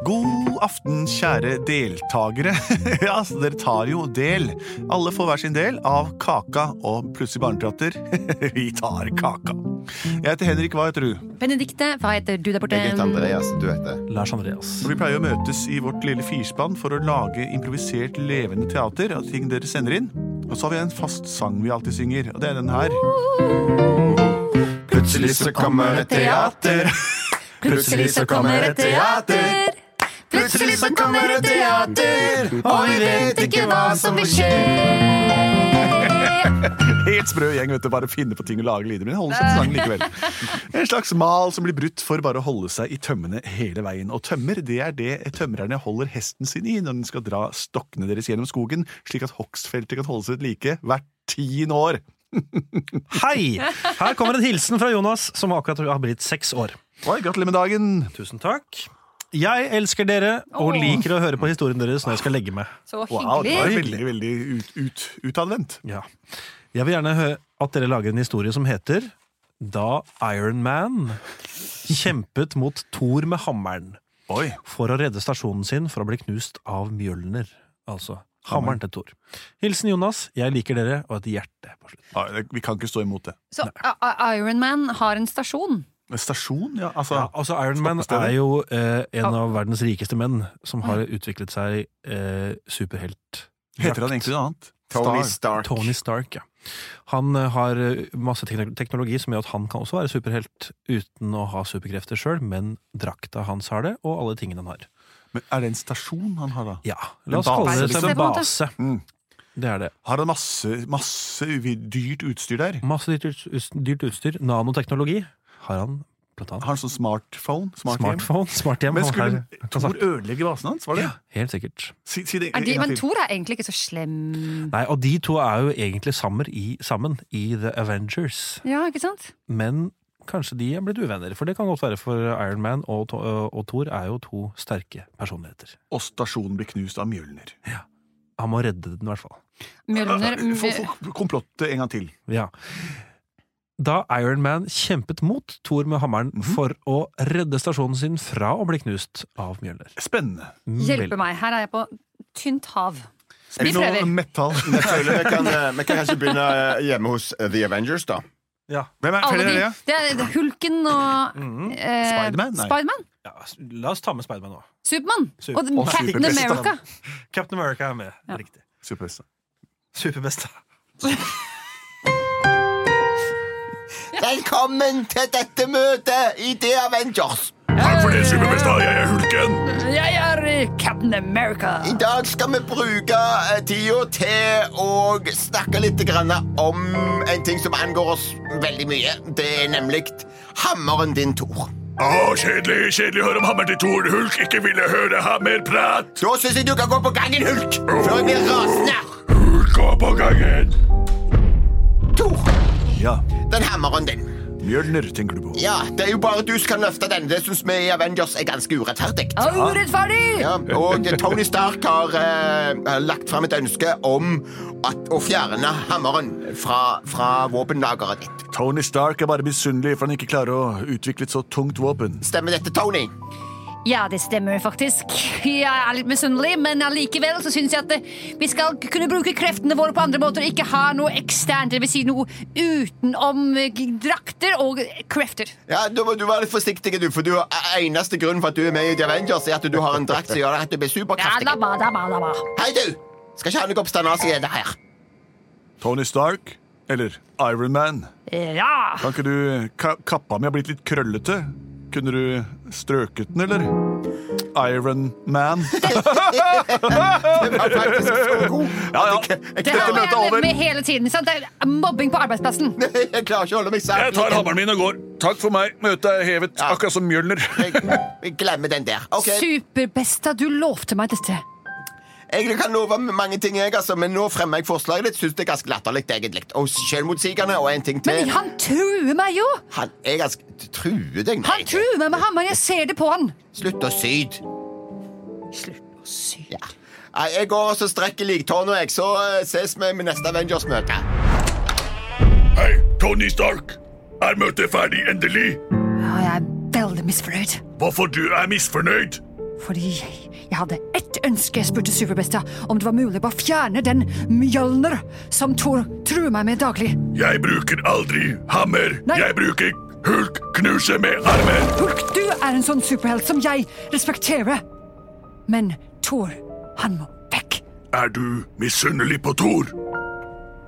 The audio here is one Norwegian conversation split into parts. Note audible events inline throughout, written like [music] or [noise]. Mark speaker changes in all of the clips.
Speaker 1: God aften, kjære deltakere. [laughs] ja, så dere tar jo del. Alle får hver sin del av kaka og plutselig barneteater. [laughs] Vi tar kaka. Jeg heter Henrik, hva heter du?
Speaker 2: Benedikte, hva heter du der borte?
Speaker 3: Jeg heter Andreas, du heter
Speaker 4: Lars Andreas.
Speaker 1: Og Vi pleier å møtes i vårt lille firspann for å lage improvisert levende teater av ting dere sender inn. Og så har vi en fast sang vi alltid synger, og det er den her.
Speaker 3: Plutselig så kommer et teater
Speaker 2: [laughs] Plutselig så kommer et teater. Plutselig så kommer et teater, og vi vet ikke hva som vil
Speaker 1: [laughs]
Speaker 2: skje.
Speaker 1: Helt sprø gjeng, vet du. Bare finne på ting og lage lyder. Men holde seg til sangen likevel. En slags mal som blir brutt for bare å holde seg i tømmene hele veien. Og tømmer, det er det tømrerne holder hesten sin i når den skal dra stokkene deres gjennom skogen, slik at hogstfeltet kan holde seg ved like hvert tiende år.
Speaker 4: Hei! Her kommer en hilsen fra Jonas, som akkurat har blitt seks år.
Speaker 1: Oi, gratulerer med dagen!
Speaker 4: Tusen takk. Jeg elsker dere og
Speaker 2: Åh.
Speaker 4: liker å høre på historien deres når jeg skal legge meg.
Speaker 2: Så
Speaker 1: Wow, det var
Speaker 2: hyggelig.
Speaker 1: veldig, veldig ut, ut, utadvendt.
Speaker 4: Ja. Jeg vil gjerne høre at dere lager en historie som heter Da Iron Man kjempet mot Thor med hammeren
Speaker 1: Oi.
Speaker 4: for å redde stasjonen sin fra å bli knust av Mjølner. Altså hammeren til Thor. Hilsen Jonas. Jeg liker dere, og et hjerte på slutt.
Speaker 1: Ja, det- Vi kan ikke stå imot det.
Speaker 2: Så Ironman har en stasjon.
Speaker 1: Stasjon, ja. Altså,
Speaker 4: Ja, altså Iron Man
Speaker 1: Stoppestedet.
Speaker 4: er jo eh, en av verdens rikeste menn som har utviklet seg eh, superhelt.
Speaker 1: heter han egentlig noe annet?
Speaker 3: Tony
Speaker 1: Star.
Speaker 3: Stark
Speaker 4: Tony Stark, ja. Han eh, har eh, masse tekno- teknologi som gjør at han kan også være superhelt uten å ha superkrefter sjøl, men drakta hans har det, og alle tingene han har.
Speaker 1: Men er det en stasjon han har, da?
Speaker 4: Ja, La oss
Speaker 1: En base,
Speaker 4: kalle det
Speaker 1: liksom.
Speaker 4: en base.
Speaker 1: Mm.
Speaker 4: Det er det.
Speaker 1: Har han masse, masse uvi- dyrt utstyr der?
Speaker 4: Masse dyrt, ut- dyrt utstyr. Nanoteknologi har han, blant
Speaker 1: Har
Speaker 4: annet.
Speaker 1: han sånn smartphone? Smarthjem?
Speaker 4: Smartphone, smarthjem.
Speaker 1: Men
Speaker 4: han
Speaker 1: skulle
Speaker 4: har- han
Speaker 1: Thor
Speaker 4: har-
Speaker 1: ødelegge basen hans? Var det?
Speaker 4: Ja, helt sikkert.
Speaker 1: Si, si det
Speaker 2: Er
Speaker 1: en
Speaker 2: de,
Speaker 1: gang til.
Speaker 2: men Thor er egentlig ikke så slem.
Speaker 4: Nei, og de to er jo egentlig sammen i, sammen i The Avengers.
Speaker 2: Ja, ikke sant?
Speaker 4: Men kanskje de er blitt uvenner. For det kan godt være, for Iron Man og, Tho- og Thor er jo to sterke personligheter.
Speaker 1: Og stasjonen blir knust av Mjølner.
Speaker 4: Han må redde den, i hvert fall.
Speaker 2: Mjølner
Speaker 1: Få få komplottet en gang til.
Speaker 4: Ja. Da Iron Man kjempet mot Thor med hammeren
Speaker 1: Mhm.
Speaker 4: for å redde stasjonen sin fra å bli knust av Mjølner.
Speaker 1: Spennende.
Speaker 2: Hjelpe meg, her er jeg på tynt hav. Vi
Speaker 1: Noe
Speaker 2: prøver. [laughs]
Speaker 1: Metal.
Speaker 3: Jeg føler vi kan, eh, vi kan kanskje begynne eh, hjemme hos eh, The Avengers da
Speaker 4: Ja.
Speaker 1: Hvem er
Speaker 2: Alle
Speaker 1: flere
Speaker 2: de,
Speaker 1: dere?
Speaker 2: det er det er Hulken og
Speaker 4: Mhm.
Speaker 2: eh,
Speaker 1: Mm. Spiderman? Nei.
Speaker 2: Spiderman?
Speaker 4: ja. La oss ta med Spiderman nå.
Speaker 2: Supermann?
Speaker 4: Super-
Speaker 2: Og
Speaker 1: og
Speaker 2: Captain
Speaker 1: Superbesta.
Speaker 2: America?
Speaker 4: Captain America er med.
Speaker 2: Ja.
Speaker 4: Riktig.
Speaker 1: Superbeste.
Speaker 4: Superbesta.
Speaker 3: Velkommen til dette møtet i The Avengers
Speaker 1: Takk for det, superbeste. Jeg er hulken.
Speaker 2: Jeg er eh, Captain America!
Speaker 3: I dag skal vi bruke eh, tida til å snakke litt grann om en ting som angår oss veldig mye Det er nemlig hammeren din, Thor
Speaker 5: Å, kjedelig, kjedelig å høre om hammeren til Thor Hulk. Ikke ville høre hammerprat.
Speaker 3: Da synes jeg du kan gå på gangen, Hulk Før jeg blir rasende
Speaker 5: Hulk går på gangen.
Speaker 3: Thor,
Speaker 1: Ja.
Speaker 3: den hammeren din
Speaker 1: Mjølner, tenker du på.
Speaker 3: Ja, det er jo bare du som kan løfte den. Det syns vi i Avengers er ganske urettferdig.
Speaker 2: Og urettferdig!
Speaker 3: Ja, og Tony Stark har eh, lagt fram et ønske om at, å fjerne hammeren fra, fra våpenlageret ditt.
Speaker 1: Tony Stark er bare misunnelig for han ikke klarer å utvikle et så tungt våpen.
Speaker 3: Stemmer dette, Tony?
Speaker 2: Ja, det stemmer faktisk. Jeg er litt misunnelig, men allikevel så syns jeg at eh, vi skal k- kunne bruke kreftene våre på andre måter og ikke ha noe eksternt, dvs. Si noe utenom eh, g- drakter og eh, krefter.
Speaker 3: Ja, Da må du være litt forsiktig, du, for du har eneste grunnen for at du er med i The Avengers, er at du har en drakt som gjør at du blir
Speaker 2: Ja,
Speaker 3: superkraftig.
Speaker 2: da ba, da ba, da ba.
Speaker 3: Hei, du! Skal ikke ha noe oppstandelse i det her.
Speaker 1: Tony Stark, eller Iron Man,
Speaker 2: Eh, Ja!
Speaker 1: kan ikke du ka Kappa mi har blitt litt krøllete. Kunne du strøket den, eller? Iron [laughs] Man.
Speaker 3: Den var faktisk så god.
Speaker 1: Ja, ja.
Speaker 3: Jeg, jeg,
Speaker 2: Det
Speaker 1: Dette
Speaker 2: her må
Speaker 1: møtet
Speaker 2: jeg
Speaker 1: er over.
Speaker 2: leve med hele tiden. Sant? Det er mobbing på arbeidsplassen.
Speaker 3: jeg klarer ikke å holde meg
Speaker 5: Jeg
Speaker 3: sammen.
Speaker 5: tar hammeren min og går.
Speaker 1: Takk for meg. Møtet er hevet,
Speaker 3: Ja.
Speaker 1: akkurat som Mjølner.
Speaker 3: Vi glemmer den der. Ok,
Speaker 2: Superbesta, du lovte meg dette.
Speaker 3: Jeg kan love mange ting, jeg, altså, men nå fremmer jeg forslaget ditt. Syns det er ganske latterlig, egentlig. Og selvmotsigende. Og en ting til.
Speaker 2: Men han truer meg jo!
Speaker 3: Han er ganske Truer deg,
Speaker 2: Han truer meg med hammeren, jeg ser det på han.
Speaker 3: Slutt å syde.
Speaker 2: Slutt å sy.
Speaker 3: Ja. Nei, Jeg går og så strekker liktårnet, jeg, så eh, ses vi med neste Avengers-møte.
Speaker 1: [laughs] Hei, Tony Stark. Er møtet ferdig endelig?
Speaker 2: Ja, jeg er veldig misfornøyd.
Speaker 1: Hvorfor du er misfornøyd?
Speaker 2: Fordi jeg, jeg hadde ett ønske jeg spurte Superbesta om det var mulig å bare fjerne den mjølner som Thor truer meg med daglig.
Speaker 1: Jeg bruker aldri hammer.
Speaker 2: Nei.
Speaker 1: Jeg bruker hulkknuse med armen.
Speaker 2: Hulk, du er en sånn superhelt som jeg respekterer. Men Thor, han må vekk.
Speaker 1: Er du misunnelig på Thor?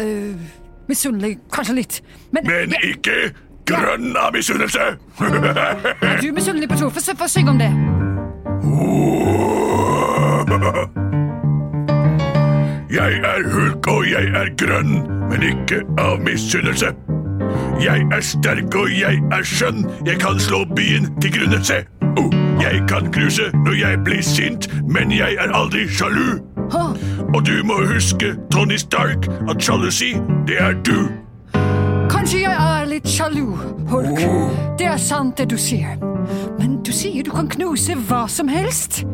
Speaker 2: Uh, Misunnelig, kanskje litt. Men,
Speaker 1: Men
Speaker 2: jeg,
Speaker 1: ikke grønn av misunnelse. [laughs]
Speaker 2: er du misunnelig på Thor? Få få synge om det.
Speaker 1: Jeg er hulk, og jeg er grønn, men ikke av misunnelse. Jeg er sterk, og jeg er skjønn. Jeg kan slå byen til grunne, se. Oh, jeg kan knuse når jeg blir sint, men jeg er aldri sjalu.
Speaker 2: Hå,
Speaker 1: Og du må huske, Tony Stark, at sjalusi, det er du.
Speaker 2: kanskje jeg er litt sjalu, Hulk. Det er sant det du sier. Men du sier du kan knuse hva som helst.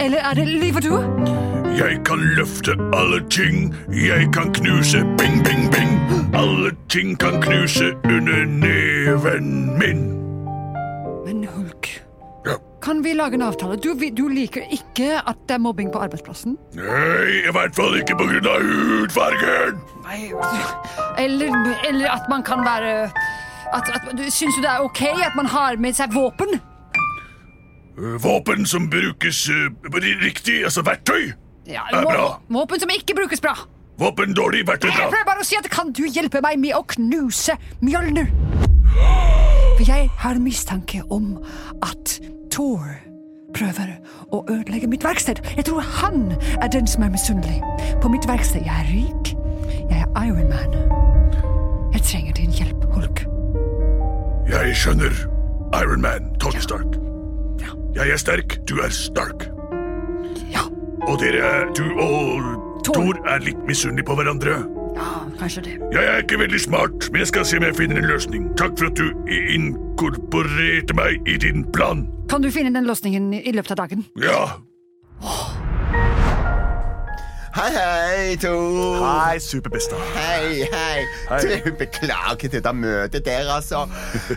Speaker 2: Eller er det lyver du?
Speaker 1: Jeg kan løfte alle ting. Jeg kan knuse bing, bing, bing. Alle ting kan knuse under neven min.
Speaker 2: Men Hulk,
Speaker 1: Ja.
Speaker 2: kan vi lage en avtale? Du, vi- du liker ikke at det er mobbing på arbeidsplassen?
Speaker 1: Nei, i hvert fall ikke på grunn av hudfargen.
Speaker 2: Nei, Eller, eller at man kan være at, at, du- Syns du det er ok at man har med seg våpen?
Speaker 1: Eh, Våpen som brukes eh, ri- riktig, altså verktøy,
Speaker 2: Ja,
Speaker 1: er
Speaker 2: vå-
Speaker 1: bra.
Speaker 2: Våpen som ikke brukes bra.
Speaker 1: Våpen dårlig, verktøy
Speaker 2: Jeg
Speaker 1: bra.
Speaker 2: prøver bare å si at Kan du hjelpe meg med å knuse Mjølner? For jeg har mistanke om at Thor prøver å ødelegge mitt verksted. Jeg tror han er den som er misunnelig. På mitt verksted jeg er rik. Jeg er Iron Man. Jeg trenger din hjelp, Hulk.
Speaker 1: Jeg skjønner. Iron Man, Tony Stark. Jeg er sterk, du er stark.
Speaker 2: Ja,
Speaker 1: Og dere, er- du og
Speaker 2: Thor.
Speaker 1: Thor er litt misunnelige på hverandre.
Speaker 2: ja kanskje det.
Speaker 1: Jeg er ikke veldig smart, men jeg skal se om jeg finner en løsning. Takk for at du i- inkorporerte meg i din plan.
Speaker 2: Kan du finne den løsningen i løpet av dagen?
Speaker 1: Ja,
Speaker 3: Hei, hei, Tor.
Speaker 6: Nei, superbesta.
Speaker 3: Hei, hei. Du, beklager det der møtet der, altså.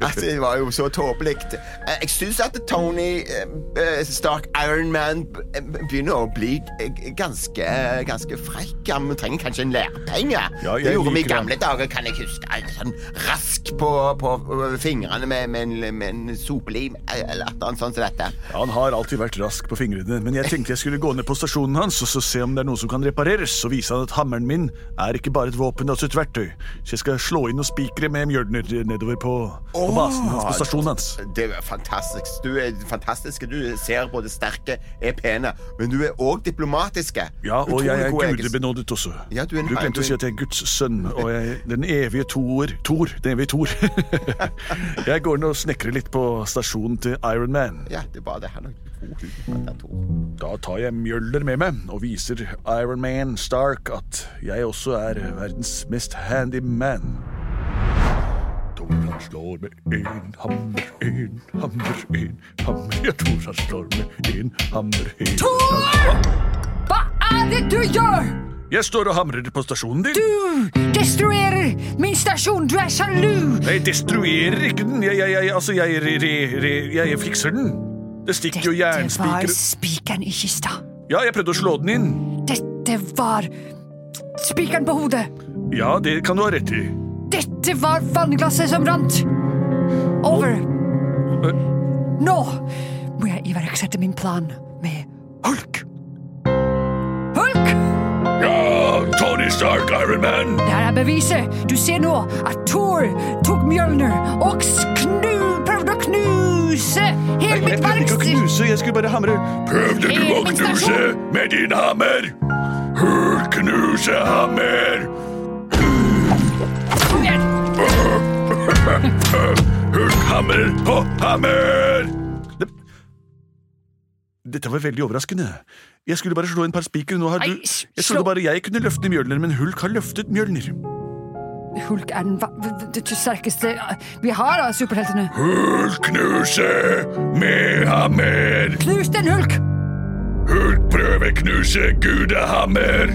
Speaker 3: altså det var jo så tåpelig. Eh, Jeg syns at Tony eh, eh, Stark Ironman begynner å bli eh, ganske, eh, ganske frekk. Han trenger kanskje en lærepenge.
Speaker 6: Ja, jeg
Speaker 3: det gjorde vi i
Speaker 6: liker
Speaker 3: gamle dager, kan jeg huske. Eh, Sånn rask på, på fingrene med, med, en- med en sopelim eh, eller et eller annet sånt som dette.
Speaker 6: Han har alltid vært rask på fingrene, men jeg tenkte jeg skulle gå ned på stasjonen hans og så se om det er noe som kan repareres, og vise han at hammeren min er ikke bare et våpen, men også et verktøy. Så jeg skal slå inn noen spikere med mjølner nedover på, på basen hans, på stasjonen hans.
Speaker 3: Det er fantastisk. Du er fantastisk. Du ser både sterke, er pene, men du er òg diplomatiske.
Speaker 6: Ja, og
Speaker 3: Utrolig
Speaker 6: jeg er
Speaker 3: gode egenskaper.
Speaker 6: gudebenådet også.
Speaker 3: Ja, du er en-
Speaker 6: glemte
Speaker 3: du er-
Speaker 6: å si at jeg er Guds sønn, og jeg den evige toer Tor, den evige Tor. [laughs] jeg går ned og snekrer litt på stasjonen til Iron Man.
Speaker 3: Ja, det var det. Han har god hud. han der Thor.
Speaker 6: Da tar jeg mjølder med meg og viser Iron Man Stark at jeg også er verdens mest handy man.
Speaker 1: Tor han slår med en hammer, en hammer, en hammer. Jeg tror han slår med en hammer, en
Speaker 2: Thor! Hva er det du gjør?
Speaker 6: Jeg står og hamrer på stasjonen din.
Speaker 2: Du destruerer min stasjon! Du er sjalu!
Speaker 6: Jeg destruerer ikke den. Jeg, jeg, jeg, altså, jeg, re, re, re, jeg fikser den. Det stikker jo
Speaker 2: Dette var
Speaker 6: jernspikere
Speaker 2: spikeren i kista.
Speaker 6: Ja, jeg prøvde å slå den inn.
Speaker 2: Dette var spikeren på hodet.
Speaker 6: Ja, det kan du ha rett i.
Speaker 2: Dette var vannglasset som rant. Over. Nå må jeg iverksette min plan med Hulk. Hulk!
Speaker 1: Ja, Tony Stark, Iron Man.
Speaker 2: Der er beviset. Du ser nå at Thor tok Mjølner og s- knu, prøvde å knuse hele
Speaker 6: Jeg
Speaker 2: mitt
Speaker 6: prøvde ikke å
Speaker 2: verksted.
Speaker 6: knuse, jeg skulle bare hamre.
Speaker 1: Prøvde du å
Speaker 2: Hele min
Speaker 1: knuse
Speaker 2: stasjon.
Speaker 1: med din hammer? Hør, knuse hammer.
Speaker 2: Kom igjen!
Speaker 5: Hulk hamrer på hammer!
Speaker 1: Dette var veldig overraskende. Jeg skulle bare slå en par spiker. Nå har
Speaker 2: Nei,
Speaker 1: du
Speaker 2: s-
Speaker 1: Jeg
Speaker 2: slå-
Speaker 1: trodde bare jeg kunne løfte Mjølner, men Hulk har løftet Mjølner.
Speaker 2: Hulk er den va- det sterkeste vi har av superheltene.
Speaker 5: Hulk knuse med hammer!
Speaker 2: Knus den, Hulk!
Speaker 5: Hulk prøver knuse gudehammer!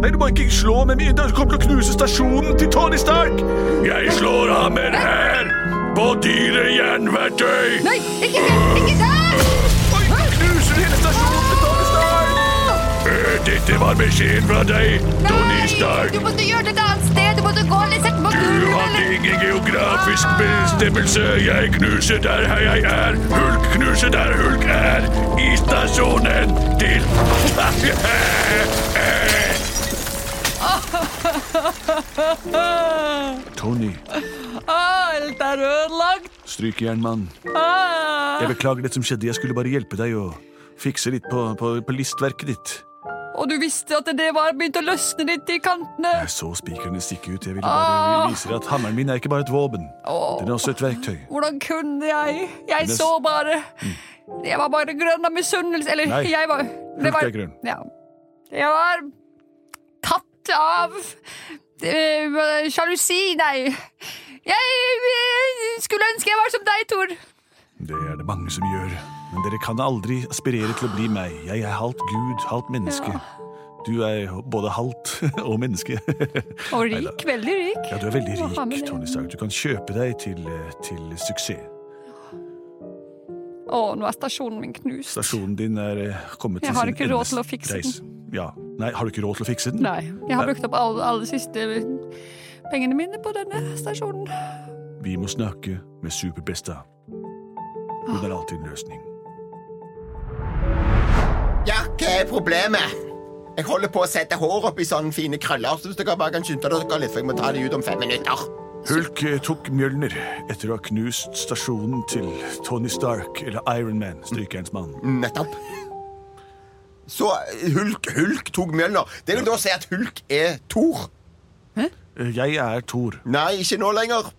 Speaker 1: Nei, du må ikke slå med min Det kommer til å knuse stasjonen til Tony Stark!
Speaker 5: Jeg slår hammer her! På dyre jernverktøy!
Speaker 2: Nei, ikke, ikke, ikke der!
Speaker 1: Oi, knuser hele stasjonen til Tony Stark!
Speaker 5: Eh, Dette var beskjeden fra deg, Tony Stark.
Speaker 2: Du måtte gjøre det et annet sted! Du måtte gå litt sett på
Speaker 5: Du
Speaker 2: gulvet!
Speaker 5: hadde
Speaker 2: eller-
Speaker 5: ingen geografisk bestemmelse. Jeg knuser der hei, jeg er. Hulk knuser der Hulk er. I stasjonen til
Speaker 1: Tony,
Speaker 2: Ah, Alt er ødelagt!
Speaker 1: strykjernmann.
Speaker 2: Ah.
Speaker 1: Jeg beklager det som skjedde. Jeg skulle bare hjelpe deg å fikse litt på, på, på listverket ditt.
Speaker 2: Og du visste at det var begynt å løsne litt i kantene.
Speaker 1: Jeg så spikerne stikke ut. Jeg ville bare vise deg at hammeren min er ikke bare et våpen. Den er også et verktøy.
Speaker 2: Hvordan kunne jeg? Jeg
Speaker 1: Det-
Speaker 2: så bare Jeg var bare grønn av misunnelse. Eller,
Speaker 1: Mm. Nei,
Speaker 2: jeg var
Speaker 1: Hulk
Speaker 2: det var,
Speaker 1: er grønn.
Speaker 2: Ja. Jeg var tatt av eh, sjalusi, nei. Jeg eh, skulle ønske jeg var som deg, Tor.
Speaker 1: Det er det mange som gjør. Men dere kan aldri aspirere til å bli meg. Jeg er halvt gud, halvt menneske. Du er både halvt [laughs] og menneske.
Speaker 2: [laughs] Og rik. Veldig rik.
Speaker 1: Ja, du er veldig
Speaker 2: Hva har med
Speaker 1: rik,
Speaker 2: det?
Speaker 1: Tony Stark. Du kan kjøpe deg til, eh, til suksess.
Speaker 2: Å, nå er stasjonen min knust.
Speaker 1: Stasjonen din er eh, kommet
Speaker 2: Jeg
Speaker 1: til
Speaker 2: har
Speaker 1: sin
Speaker 2: ikke råd til å
Speaker 1: endes
Speaker 2: fikse den.
Speaker 1: reis. Ja. Nei, har du ikke råd til å fikse den?
Speaker 2: Nei. Jeg har brukt opp alle, alle siste pengene mine på denne stasjonen.
Speaker 1: Vi må snakke med Superbesta. Hun har alltid en løsning.
Speaker 3: Ja, hva er problemet? Jeg holder på å sette håret opp i sånne fine krøller, så hvis dere bare kan skynde dere litt, for jeg må ta det ut om fem minutter.
Speaker 1: Hulk eh, tok Mjølner etter å ha knust stasjonen til Tony Stark, eller Ironman, strykerens mann.
Speaker 3: Nettopp. Så Hulk, Hulk tok Mjølner. Det vil da si at Hulk er Thor.
Speaker 1: Eh, Jeg er Thor.
Speaker 3: Nei, ikke nå lenger.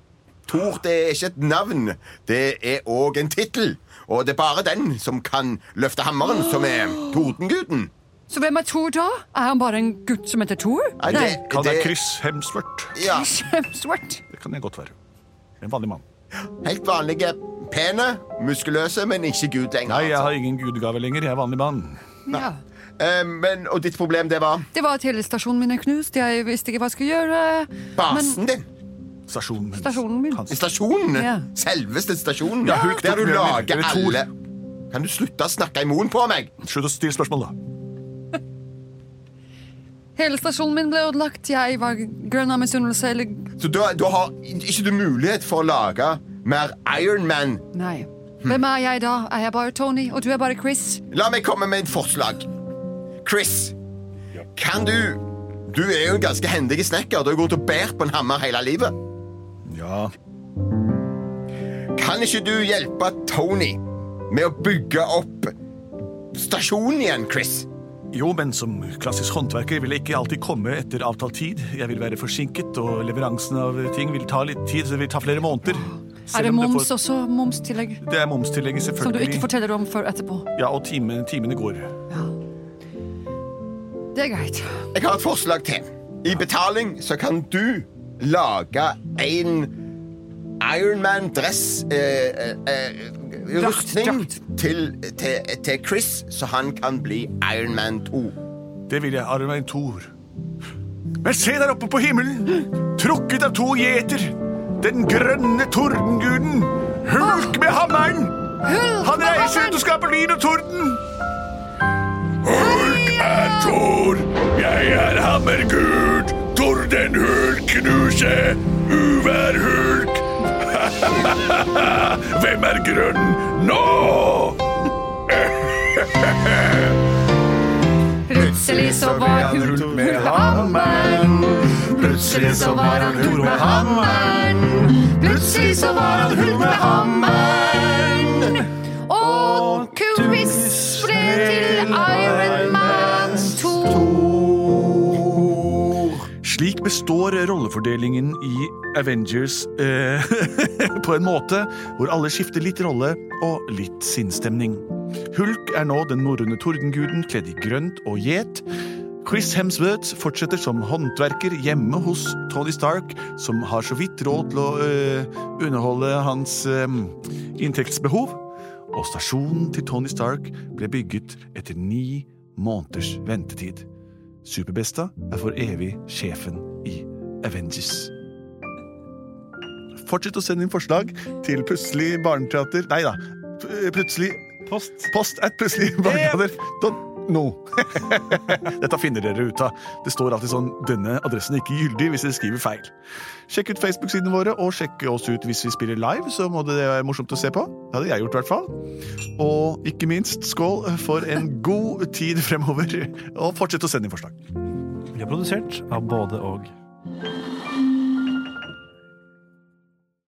Speaker 3: Thor det er ikke et navn, det er òg en tittel. Og det er bare den som kan løfte hammeren, som er Tordenguden.
Speaker 2: Så hvem er Thor da? Er han bare en gutt som heter Thor?
Speaker 3: Nei, det-
Speaker 1: Kall deg Chris Hemsworth.
Speaker 2: [laughs]
Speaker 3: Ja,
Speaker 2: Svart.
Speaker 1: Det kan jeg godt være. En vanlig mann.
Speaker 3: helt vanlige, pene, muskuløse, men ikke gud lenger.
Speaker 1: Nei, jeg
Speaker 3: altså.
Speaker 1: har ingen gudegave lenger. Jeg er vanlig mann.
Speaker 2: Ja.
Speaker 3: Eh, men, og ditt problem, det var
Speaker 2: Det var at hele stasjonen min er knust. Jeg visste ikke hva jeg skulle gjøre.
Speaker 3: basen din.
Speaker 1: Stasjonen min.
Speaker 2: Stasjonen min.
Speaker 1: Hans.
Speaker 3: Stasjonen?
Speaker 2: Ja.
Speaker 3: Selveste stasjonen?
Speaker 1: Ja, Hulk
Speaker 3: der
Speaker 1: tok
Speaker 3: du
Speaker 1: Mjølner.
Speaker 3: lager
Speaker 1: Eller Thor.
Speaker 3: alle Kan du slutte å snakke i munnen på meg?
Speaker 1: Slutt å stille spørsmål, da.
Speaker 2: Hele stasjonen min ble ødelagt. Jeg var grønn av misunnelse eller
Speaker 3: Så da, da har ikke du mulighet for å lage mer Ironman.
Speaker 2: Nei. Hvem er jeg da? Er jeg bare Tony, og du er bare Chris?
Speaker 3: La meg komme med et forslag. Chris, kan du Du er jo en ganske hendig snekker. Du har gått og båret på en hammer hele livet.
Speaker 1: Ja.
Speaker 3: Kan ikke du hjelpe Tony med å bygge opp stasjonen igjen, Chris?
Speaker 1: Jo, men som klassisk håndverker vil jeg ikke alltid komme etter avtalt tid. Jeg vil være forsinket, og leveransen av ting vil ta litt tid, så det vil ta flere måneder.
Speaker 2: er det
Speaker 1: om
Speaker 2: moms
Speaker 1: får-
Speaker 2: også? Momstillegg?
Speaker 1: Det er momstillegget, selvfølgelig.
Speaker 2: Som du ikke forteller om før etterpå.
Speaker 1: Ja, og time, timene går.
Speaker 2: Det er greit.
Speaker 3: Jeg har et forslag til. I betaling så kan du lage en Ironman-dress eh, eh, eh,
Speaker 2: Drakt,
Speaker 3: Rustning
Speaker 2: drakt.
Speaker 3: til, til, til Chris, så han kan bli Ironman 2.
Speaker 1: Det vil jeg, Arvein Thor. Men se der oppe på himmelen, trukket av to gjeter, den grønne tordenguden, Hulk med hammeren!
Speaker 2: Hulk,
Speaker 1: Han
Speaker 2: hva
Speaker 1: reiser
Speaker 2: faen?
Speaker 1: ut og skaper lyn og torden!
Speaker 5: Hulk er Thor. Jeg er hammergud. Tordenhulk knuse
Speaker 1: [laughs]
Speaker 5: uværhulk. Hvem er grønn nå?
Speaker 2: Plutselig så var
Speaker 1: han
Speaker 2: Hulk
Speaker 1: Hulk
Speaker 2: med
Speaker 1: med
Speaker 2: hammeren. Plutselig så var han Hulk med hammeren. Plutselig så var han Hulk med hammeren. Og Kubis ble til Iron Man 2.
Speaker 1: Slik består rollefordelingen i Avengers eh, [laughs] på en måte hvor alle skifter litt rolle og litt sinnsstemning. Hulk er nå den norrøne tordenguden kledd i grønt og gjet. Chris Hemsworth fortsetter som håndverker hjemme hos Tony Stark, som har så vidt råd til å eh, underholde hans eh, inntektsbehov. Og stasjonen til Tony Stark ble bygget etter ni måneders ventetid. Superbesta er for evig sjefen i Avengers. Fortsett å sende inn forslag til plutselig barneteater Nei da. p- Plutselig
Speaker 4: Post.
Speaker 1: Post at plutselig barneteater.no. Dette finner dere ut av. Det står alltid sånn 'denne adressen er ikke gyldig' hvis dere skriver feil. Sjekk ut Facebook-sidene våre, og sjekk oss ut hvis vi spiller live. Så må det være morsomt å se på. Det hadde jeg gjort, i hvert fall. Og ikke minst, skål for en god tid fremover. Og fortsett å sende inn forslag.
Speaker 4: Vi er produsert av både og.